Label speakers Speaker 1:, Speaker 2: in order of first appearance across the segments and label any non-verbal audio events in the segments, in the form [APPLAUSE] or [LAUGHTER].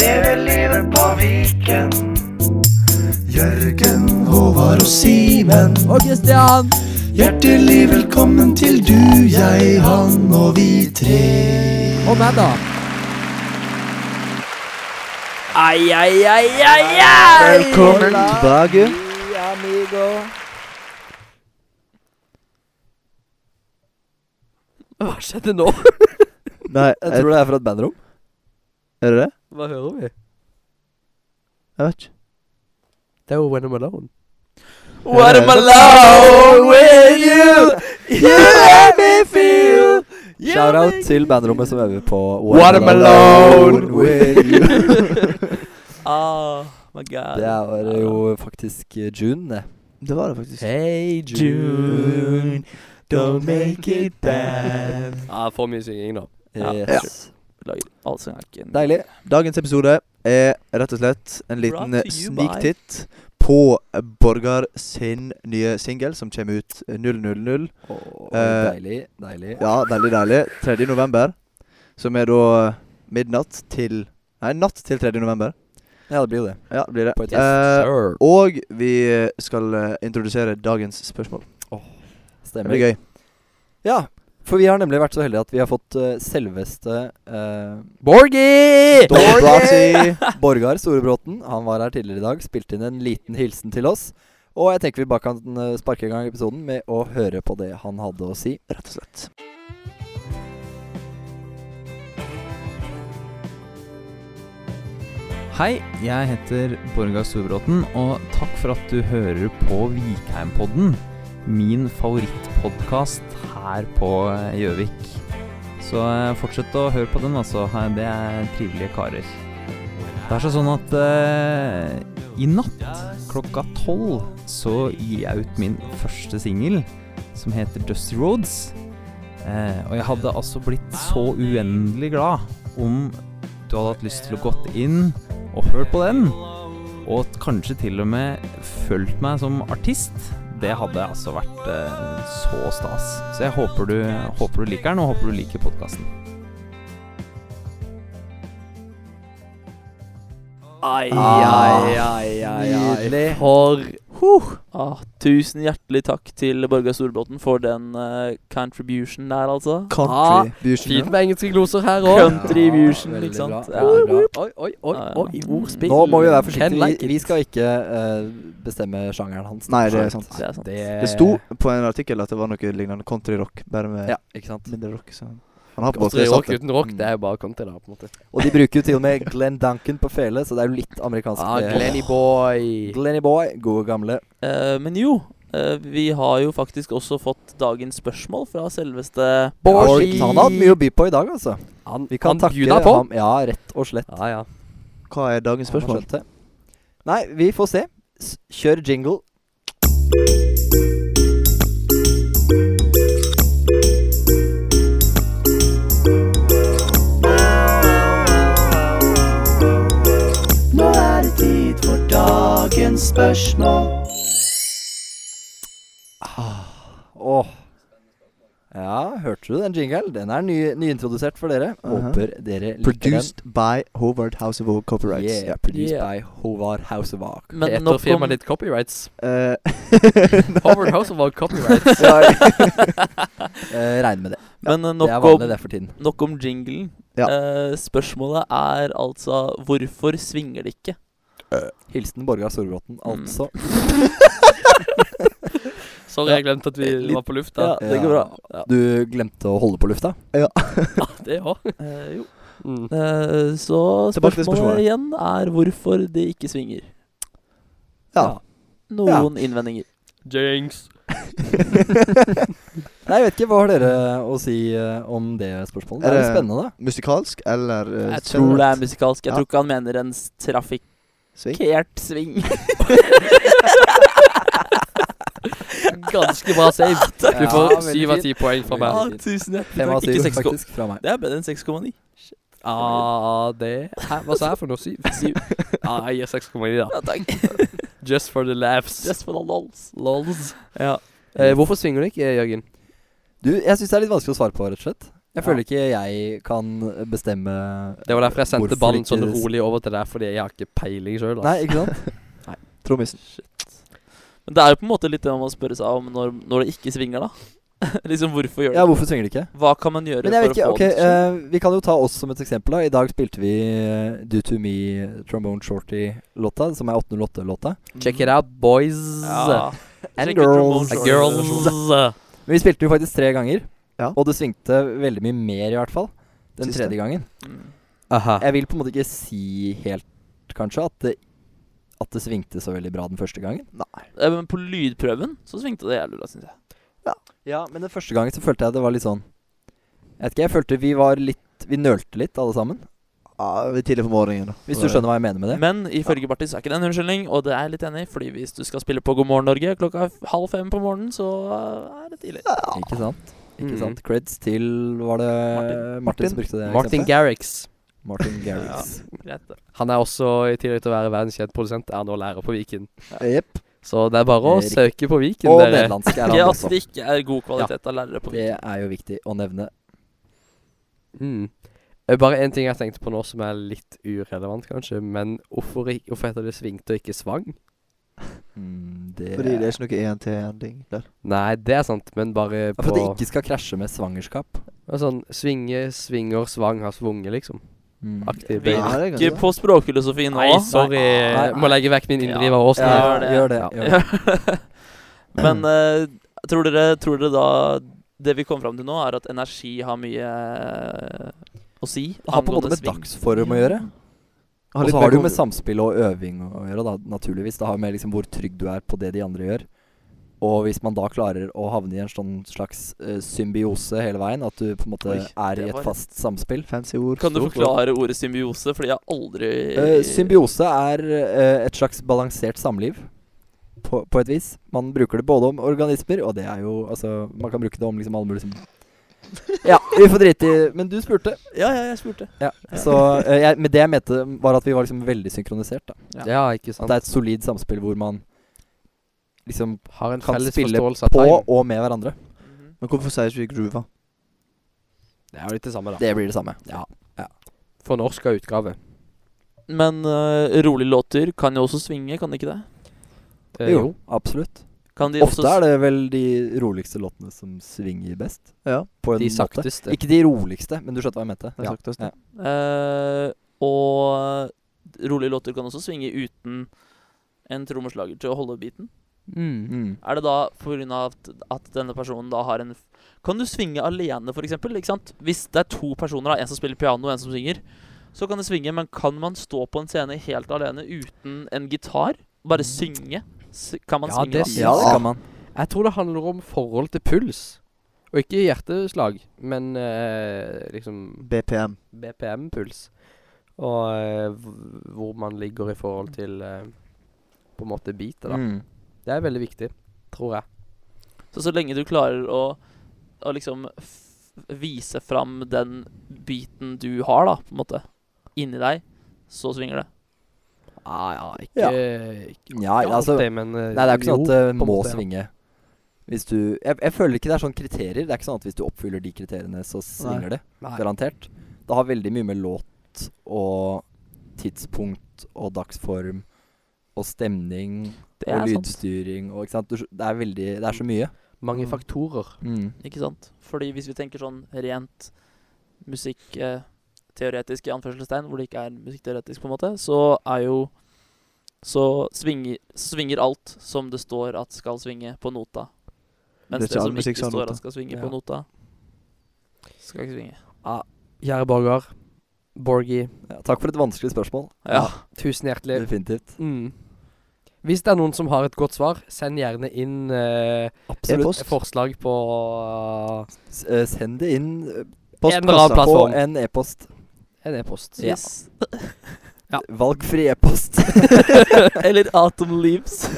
Speaker 1: Leve livet på Viken. Jørgen, Håvard og Simen.
Speaker 2: Og Kristian!
Speaker 1: Hjertelig velkommen til du, jeg, han og vi tre.
Speaker 2: Og meg, da. Ai, ai, ai, ai, ai!
Speaker 3: Velkommen tilbake.
Speaker 2: Amigo. Hva skjedde nå?
Speaker 3: Nei,
Speaker 4: Jeg tror det er fra et bandrom.
Speaker 3: er det det?
Speaker 2: Hva hører vi?
Speaker 3: Jeg vet ikke.
Speaker 2: Det er jo When I'm Alone.
Speaker 3: What am I
Speaker 2: alone with you? You let me feel
Speaker 4: Shout-out til bandrommet som øver på
Speaker 3: What am I alone with you?
Speaker 2: Oh my god.
Speaker 4: Det er jo faktisk eh, June, det.
Speaker 3: Det var det faktisk.
Speaker 2: Hey June, don't make it bad. Ah, for mye synging nå. Ja.
Speaker 4: Yes.
Speaker 2: Lager
Speaker 5: altså,
Speaker 2: allsanghaken.
Speaker 4: Deilig.
Speaker 3: Dagens episode er rett og slett en liten eh,
Speaker 2: Brought to you by-
Speaker 3: sniktitt på Borgar sin nye singel som kommer ut eh, 000.
Speaker 4: Åh,
Speaker 3: Eh,
Speaker 4: deilig, deilig.
Speaker 3: Ja, veldig deilig. 3. november. Som er da eh, midnatt til Nei, natt til 3. november.
Speaker 4: Ja, det blir jo det.
Speaker 3: Ja, blir det.
Speaker 4: På et
Speaker 3: Eh,
Speaker 4: sir.
Speaker 3: og vi skal eh, introdusere dagens spørsmål. Det
Speaker 4: Stemmer.
Speaker 3: blir gøy.
Speaker 4: Ja, for vi har nemlig vært så heldige at vi har fått eh, selveste eh,
Speaker 2: Borgi!
Speaker 3: Dobrati.
Speaker 4: Borgar Storebråten. Han var her tidligere i dag, spilte inn en liten hilsen til oss. Og jeg tenker vi bare kan eh, sparke i gang episoden med å høre på det han hadde å si.
Speaker 3: Rett og slett.
Speaker 6: Hei, jeg heter Borgar Storbråten, og takk for at du hører på Vikheimpodden. Min favorittpodkast her på eh, Gjøvik. Så eh, fortsett å høre på den, altså. Her- Det er trivelige karer. Det er seg sånn at eh, i natt klokka tolv så gir jeg ut min første singel, som heter Dusty Roads. Eh, og jeg hadde altså blitt så uendelig glad om du hadde hatt lyst til å gått inn og hørt på den. Og t- kanskje til og med følt meg som artist. Det hadde altså vært eh, så stas. Så jeg håper du, håper du liker den, og håper du liker podkasten.
Speaker 5: Ai,
Speaker 4: Ah,
Speaker 5: ai, ai, ai, ai.
Speaker 4: nydelig.
Speaker 5: For ah, Tusen hjertelig takk til Borgar Storbråten for den eh, contribution der, altså.
Speaker 2: Ah,
Speaker 3: Country. fusion, ja.
Speaker 2: Fint med engelske gloser her òg.
Speaker 5: Contribution,
Speaker 4: veldig
Speaker 5: ikke sant.
Speaker 4: bra,
Speaker 5: Ja.
Speaker 4: veldig bra.
Speaker 2: Oi, oi, oi, oi, ordspill.
Speaker 4: Nå må vi være
Speaker 2: Ken
Speaker 4: forsiktige.
Speaker 2: like
Speaker 4: Vi,
Speaker 2: it.
Speaker 4: vi skal ikke eh, bestemme sjangeren hans.
Speaker 3: Nei, det er sant.
Speaker 5: Det er sant.
Speaker 3: Det sto på en artikkel at det var noe lignende countryrock, bare med
Speaker 4: Ja, ikke sant.
Speaker 3: mindre rock. Så han har på en måte
Speaker 2: Country rock
Speaker 3: satt det.
Speaker 2: uten rock, det er jo bare country, da, på en måte.
Speaker 4: Og de bruker jo til og med Glenn Duncan på fele, så det er jo litt amerikansk.
Speaker 2: Ah,
Speaker 4: eh,
Speaker 2: Glenny boy.
Speaker 4: Glenny Boy, gode gamle.
Speaker 5: Eh, men jo, eh, vi har jo faktisk også fått dagens spørsmål fra selveste
Speaker 2: Borgi.
Speaker 4: Han har hatt mye å by på i dag, altså.
Speaker 2: Han,
Speaker 4: Vi kan
Speaker 2: han
Speaker 4: takke
Speaker 2: bjuda på.
Speaker 4: ham. Ja, rett og slett.
Speaker 2: Ja, ja.
Speaker 3: Hva er dagens
Speaker 4: Han
Speaker 3: spørsmål?
Speaker 4: skjønte. Nei, vi får se. S kjør jingle.
Speaker 1: Nå er det tid for dagens spørsmål.
Speaker 4: Åh. Ja, hørte du den jinglen? Den er ny, nyintrodusert for dere.
Speaker 3: Mhm.
Speaker 4: Håper dere liker
Speaker 3: Produced by Howard House of All
Speaker 4: den.
Speaker 3: Copyrights.
Speaker 4: Yeah,
Speaker 3: Ja.
Speaker 4: produced
Speaker 2: Yeah.
Speaker 4: by Håvard Hausevak.
Speaker 5: Men
Speaker 2: Etter
Speaker 5: nok om
Speaker 2: firmaet ditt copyrights.
Speaker 3: Eh,
Speaker 2: [LAUGHS]
Speaker 4: [LAUGHS]
Speaker 2: Howard House var copyright.
Speaker 4: Eh, regn med det.
Speaker 5: Men eh,
Speaker 4: Det er
Speaker 5: nok om
Speaker 4: vanlig det for tiden.
Speaker 5: Nok om jinglen.
Speaker 3: Ja.
Speaker 5: Eh, spørsmålet er altså hvorfor svinger det ikke?
Speaker 4: Hilsen Borgar Storbråten,
Speaker 2: Mm.
Speaker 4: altså.
Speaker 2: Sorry, jeg glemte at vi
Speaker 4: Litt-
Speaker 2: var på lufta.
Speaker 5: Ja, det går bra. Ja,
Speaker 4: Du glemte å holde på lufta?
Speaker 2: Det òg.
Speaker 5: [LAUGHS] eh, jo.
Speaker 2: Mm.
Speaker 5: Eh, så
Speaker 3: Tilbake til
Speaker 5: spørsmålet,
Speaker 3: spørsmålet.
Speaker 5: igjen er hvorfor det ikke svinger.
Speaker 3: ja.
Speaker 5: Noen innvendinger.
Speaker 2: Jinx.
Speaker 4: Nei, jeg vet ikke. Hva har dere å si eh, om det spørsmålet? Det er
Speaker 3: Er
Speaker 4: litt
Speaker 3: det-
Speaker 4: spennende.
Speaker 3: Musikalsk eller eh,
Speaker 5: Jeg tror det er
Speaker 3: generelt?
Speaker 5: musikalsk. Jeg
Speaker 3: Ja.
Speaker 5: tror ikke han mener en s- trafikkert
Speaker 3: Sving?
Speaker 5: sving.
Speaker 2: Ganske bra save. Du
Speaker 4: [LAUGHS] Ja,
Speaker 2: får
Speaker 4: veldig
Speaker 2: syv av
Speaker 4: fint.
Speaker 2: ti poeng fra
Speaker 5: [LAUGHS]
Speaker 4: Veldig
Speaker 2: meg.
Speaker 4: fint.
Speaker 5: tusen hjertelig
Speaker 4: Fem av
Speaker 5: takk.
Speaker 4: syv,
Speaker 5: Ikke 6,9.
Speaker 4: faktisk, fra meg.
Speaker 5: Det er bedre enn 6,9.
Speaker 2: Ah, det Hæ, Hva sa jeg for noe? Syv?
Speaker 5: Syv.
Speaker 2: Ah, jeg gir 6,9, da.
Speaker 5: Ja, takk.
Speaker 2: Just for the laughs.
Speaker 5: Just for the lols.
Speaker 2: Lols.
Speaker 5: Ja.
Speaker 2: Eh, hvorfor svinger du ikke, Jørgen?
Speaker 4: Du, jeg syns det er litt vanskelig å svare på, rett og slett. Jeg føler ikke jeg kan bestemme
Speaker 2: Det var derfor jeg sendte
Speaker 4: Hvorfor
Speaker 2: ballen
Speaker 4: ikke
Speaker 2: sånn
Speaker 4: det s-
Speaker 2: rolig over til deg, fordi jeg har ikke peiling sjøl.
Speaker 4: Nei, ikke sant?
Speaker 3: Trommisen.
Speaker 5: Men det er jo på en måte litt det man må spørre seg om når, når det ikke svinger, da. [LAUGHS] liksom, hvorfor gjør
Speaker 4: Ja,
Speaker 5: det
Speaker 4: hvorfor svinger det ikke?
Speaker 5: Hva kan man gjøre
Speaker 4: Men jeg vet
Speaker 5: for
Speaker 4: ikke,
Speaker 5: å få
Speaker 4: ok,
Speaker 5: det til?
Speaker 4: eh, Vi kan jo ta oss som et eksempel. da I dag spilte vi eh, Do To Me Trombone Shorty-låta, som er 808-låta.
Speaker 2: Check it out, boys
Speaker 5: Ja.
Speaker 4: And
Speaker 5: Check it, Ramon
Speaker 4: girls.
Speaker 5: Shorty.
Speaker 2: girls.
Speaker 4: Men vi spilte jo faktisk tre ganger,
Speaker 3: Ja.
Speaker 4: og det svingte veldig mye mer, i hvert fall. Den
Speaker 3: Syns
Speaker 4: tredje
Speaker 3: det.
Speaker 4: gangen.
Speaker 5: [LAUGHS] Mm.
Speaker 2: Aha.
Speaker 4: Jeg vil på en måte ikke si helt, kanskje, at det, at det svingte så veldig bra den første gangen.
Speaker 5: Eh, Men på lydprøven så svingte det jævlig bra, syns jeg.
Speaker 4: Ja, men den første gangen så følte jeg det var litt sånn Jeg vet ikke, jeg følte vi var litt Vi nølte litt, alle sammen.
Speaker 3: Ja, det er Ah, tidlig på morgenen. da.
Speaker 4: Hvis du skjønner hva jeg mener med det.
Speaker 5: Men ifølge Bartis er ikke det en unnskyldning, og det er jeg litt enig i. Fordi hvis du skal spille på God morgen Norge klokka f- halv fem på morgenen, så eh, er det tidlig.
Speaker 4: Ikke sant? Ikke
Speaker 2: Mhm.
Speaker 4: sant? Creds til Var det Mm. Martin,
Speaker 5: Martin.
Speaker 4: som brukte det?
Speaker 2: Martin
Speaker 4: eksempelet?
Speaker 2: Garrix.
Speaker 4: Martin Garrix.
Speaker 5: Greit, det.
Speaker 2: Han er også, i tillegg til å være verdenskjent produsent, er han nå lærer på Viken.
Speaker 3: Jepp.
Speaker 2: Så det er bare å
Speaker 4: Riktig.
Speaker 2: søke på Viken,
Speaker 4: Og
Speaker 2: dere.
Speaker 4: nederlandsk
Speaker 5: Ikke
Speaker 4: er han
Speaker 5: at
Speaker 4: også.
Speaker 5: altså, det ikke er god kvalitet av lærere på
Speaker 4: Det
Speaker 5: Viken.
Speaker 4: er jo viktig å nevne.
Speaker 2: Mm. Eh, Bare én ting jeg tenkte på nå som er litt urelevant, kanskje. Men hvorfor, ikk- hvorfor heter det svingte og ikke svang?
Speaker 4: Mm, det
Speaker 3: Fordi det er ikke noe ENT-ending der.
Speaker 2: Nei, det er sant, men bare
Speaker 4: For at det
Speaker 2: på
Speaker 4: ikke skal krasje med svangerskap.
Speaker 2: Ja, Sånn svinge, svinger, svang har svunget, liksom.
Speaker 4: Mm.
Speaker 2: Aktiv
Speaker 5: Vi
Speaker 3: Ja, det er
Speaker 5: Ikke
Speaker 3: ganske-
Speaker 5: på språkfilosofi nå.
Speaker 2: Nei, sorry.
Speaker 4: Nei, nei.
Speaker 2: Må legge vekk min inndriver
Speaker 5: Ja.
Speaker 2: av åsen. her.
Speaker 5: Gjør
Speaker 4: Ja,
Speaker 5: det.
Speaker 4: gjør det. Gjør det.
Speaker 5: [LAUGHS]
Speaker 4: [CLEARS THROAT]
Speaker 5: Men eh, tror, dere, tror dere da det vi kom fram til nå, er at energi har mye eh, å si?
Speaker 4: Det har på en måte
Speaker 5: angående
Speaker 4: med
Speaker 5: sving?
Speaker 4: dagsform å gjøre.
Speaker 3: Har
Speaker 4: Og
Speaker 3: litt
Speaker 4: så har det jo
Speaker 3: mer
Speaker 4: med samspill og øving å gjøre, da, naturligvis. Det har med liksom hvor trygg du er på det de andre gjør. Og hvis man da klarer å havne i en sånn slags eh, symbiose hele veien, at du på en måte
Speaker 3: Oi,
Speaker 4: er
Speaker 5: det
Speaker 4: i
Speaker 5: var-
Speaker 4: et fast samspill
Speaker 3: Fancy ord.
Speaker 5: Kan du
Speaker 3: Stort ord.
Speaker 5: forklare ordet symbiose? Fordi jeg har aldri
Speaker 4: Eh, Symbiose er eh, et slags balansert samliv, på, på et vis. Man bruker det både om organismer, og det er jo Altså, man kan bruke det om liksom alle mulige som- Ja, vi får drite i Men du spurte.
Speaker 5: Ja, ja, jeg spurte.
Speaker 4: Ja, så eh, jeg, Men det jeg mente, var at vi var liksom veldig synkronisert, da.
Speaker 5: Ja.
Speaker 2: Ja, ikke
Speaker 4: At
Speaker 2: sant.
Speaker 4: det er et solid samspill hvor man liksom
Speaker 2: Har en
Speaker 4: kan
Speaker 2: felles
Speaker 4: spille
Speaker 2: forståelse av
Speaker 4: på
Speaker 2: time.
Speaker 4: og med hverandre. Mhm.
Speaker 3: Men hvorfor sier ikke vi gruva?
Speaker 2: Det er jo litt det samme, da.
Speaker 4: Det blir det samme. Ja.
Speaker 2: Fornorska utgave.
Speaker 5: Men eh, rolige låter kan jo også svinge, kan de ikke det?
Speaker 2: Eh,
Speaker 4: Jo, absolutt.
Speaker 5: Kan de
Speaker 4: Ofte
Speaker 5: også
Speaker 4: er det vel de roligste låtene som svinger best.
Speaker 3: Ja.
Speaker 4: På en
Speaker 2: De
Speaker 4: måte.
Speaker 2: sakteste.
Speaker 4: Ikke de roligste, men du skjønte hva jeg mente.
Speaker 3: Det er sagt oss det.
Speaker 5: eh, Og rolige låter kan også svinge uten en trommeslager til å holde beaten.
Speaker 2: Mm.
Speaker 4: Mm.
Speaker 5: Er det da pga. At, at denne personen da har en f- Kan du svinge alene, for eksempel? Ikke sant? Hvis det er to personer, da, en som spiller piano og en som synger, så kan det svinge, men kan man stå på en scene helt alene uten en gitar? Bare synge? S kan man
Speaker 2: Mm. Ja,
Speaker 5: svinge
Speaker 2: det
Speaker 5: da?
Speaker 2: sy-
Speaker 4: Ja, det
Speaker 3: Ja.
Speaker 4: kan man.
Speaker 2: Jeg tror det handler om forhold til puls. Og ikke hjerteslag, men eh, liksom
Speaker 3: BPM.
Speaker 2: BPM-puls. Og eh, hv- hvor man ligger i forhold til eh, på en måte beatet, da.
Speaker 4: Mm.
Speaker 2: Det er veldig viktig, tror jeg.
Speaker 5: Så så lenge du klarer å, å liksom f vise fram den biten du har, da, på en måte, inni deg, så svinger det.
Speaker 2: Ah, ja, ikke,
Speaker 4: Ja.
Speaker 2: ikke
Speaker 4: Ja,
Speaker 2: ikke
Speaker 4: altså Nei,
Speaker 2: alltid, men eh,
Speaker 4: det er jo ikke sånn at det
Speaker 2: på en
Speaker 4: må
Speaker 2: måte, ja.
Speaker 4: svinge. Hvis du jeg, jeg føler ikke det er sånn kriterier. Det er ikke sånn at hvis du oppfyller de kriteriene, så svinger det.
Speaker 2: Nei.
Speaker 4: Garantert. Det har veldig mye med låt og tidspunkt og dagsform og stemning
Speaker 5: Det
Speaker 4: og
Speaker 5: er sant.
Speaker 4: lydstyring og ikke sant. Du, skj- det er veldig Det er så mye.
Speaker 2: eh,
Speaker 4: Mm.
Speaker 2: Mange faktorer.
Speaker 5: Ikke sant? Fordi hvis vi tenker sånn rent musikkteoretisk i anførselstegn, hvor det ikke er musikkteoretisk, på en måte, så er jo Så svinger, svinger alt som det står at skal svinge på nota. Mens det,
Speaker 3: Det er ikke all
Speaker 5: som ikke
Speaker 3: musikk som har
Speaker 5: står
Speaker 3: nota.
Speaker 5: at skal svinge
Speaker 2: Ja.
Speaker 5: på nota, skal ikke svinge.
Speaker 2: Kjære Borgar. Borgi,
Speaker 4: Ja, takk for et vanskelig spørsmål.
Speaker 5: Ja.
Speaker 2: tusen hjertelig.
Speaker 4: Definitivt.
Speaker 2: Mm. Hvis det er noen som har et godt svar, send gjerne inn eh,
Speaker 3: E-post.
Speaker 2: forslag på
Speaker 4: S eh, send det inn eh,
Speaker 2: En eller annen
Speaker 4: på
Speaker 2: plattform.
Speaker 4: en e-post.
Speaker 2: En e-post.
Speaker 5: Yes. [LAUGHS]
Speaker 4: Valgfri e-post.
Speaker 5: Eller Atom Leaves.
Speaker 2: [LAUGHS]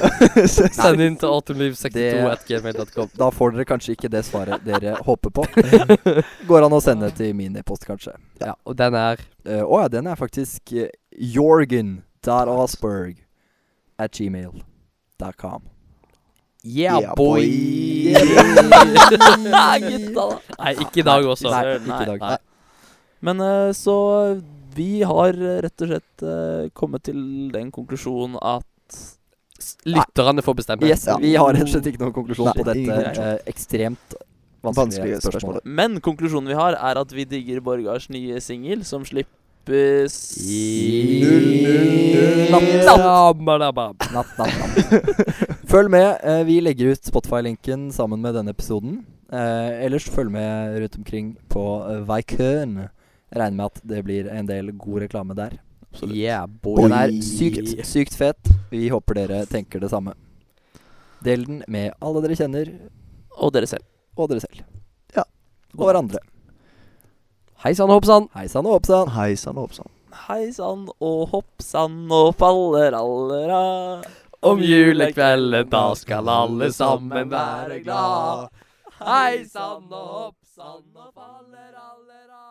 Speaker 2: Send inn til autumnliv62.gmail.com.
Speaker 4: Da får dere kanskje ikke det svaret dere håper på. Går an å sende til min e-post, kanskje.
Speaker 2: Ja, og den er
Speaker 4: Eh, Å ja, den er faktisk eh, jorgen.asperg at gmail.com.
Speaker 2: Yeah,
Speaker 3: Yeah,
Speaker 2: boy!
Speaker 3: [LAUGHS]
Speaker 5: Gutta, da.
Speaker 2: Nei, ikke i dag også.
Speaker 4: Nei,
Speaker 5: Nei,
Speaker 4: ikke i dag.
Speaker 5: nei. Men eh, så vi har eh, rett og slett eh, kommet til den konklusjonen at
Speaker 2: S- Lytterne får bestemme.
Speaker 4: Yes,
Speaker 3: Ja.
Speaker 4: Vi har rett og slett ikke noen konklusjon
Speaker 3: Nei,
Speaker 4: på dette
Speaker 3: ingen konklusjon.
Speaker 4: eh, ekstremt
Speaker 3: Vanskelige
Speaker 4: vanskelige
Speaker 3: spørsmålet.
Speaker 4: spørsmålet.
Speaker 5: Men konklusjonen vi har, er at vi digger Borgars nye singel, som slippes
Speaker 2: I-
Speaker 4: Natt.
Speaker 2: Natt.
Speaker 4: Natt, natt, [LAUGHS] natt. følg med. eh, vi legger ut Spotify-linken sammen med denne episoden. Eh, ellers følg med rundt omkring på uh, Veikøen. Regner med at det blir en del god reklame der.
Speaker 2: Yeah, boy.
Speaker 4: Den er sykt, sykt fet. Vi håper dere tenker det samme. Del den med alle dere kjenner,
Speaker 5: Og dere selv.
Speaker 4: og dere selv.
Speaker 3: Ja.
Speaker 4: Og hverandre.
Speaker 2: Hei sann, hopp sann.
Speaker 4: Hei sann og hopp sann.
Speaker 3: Hei sann og hopp sann.
Speaker 5: Hei sann og hopp sann og faller allera.
Speaker 2: Om julekvelden, da skal alle sammen være glad. Hei sann og hopp sann og faller allera.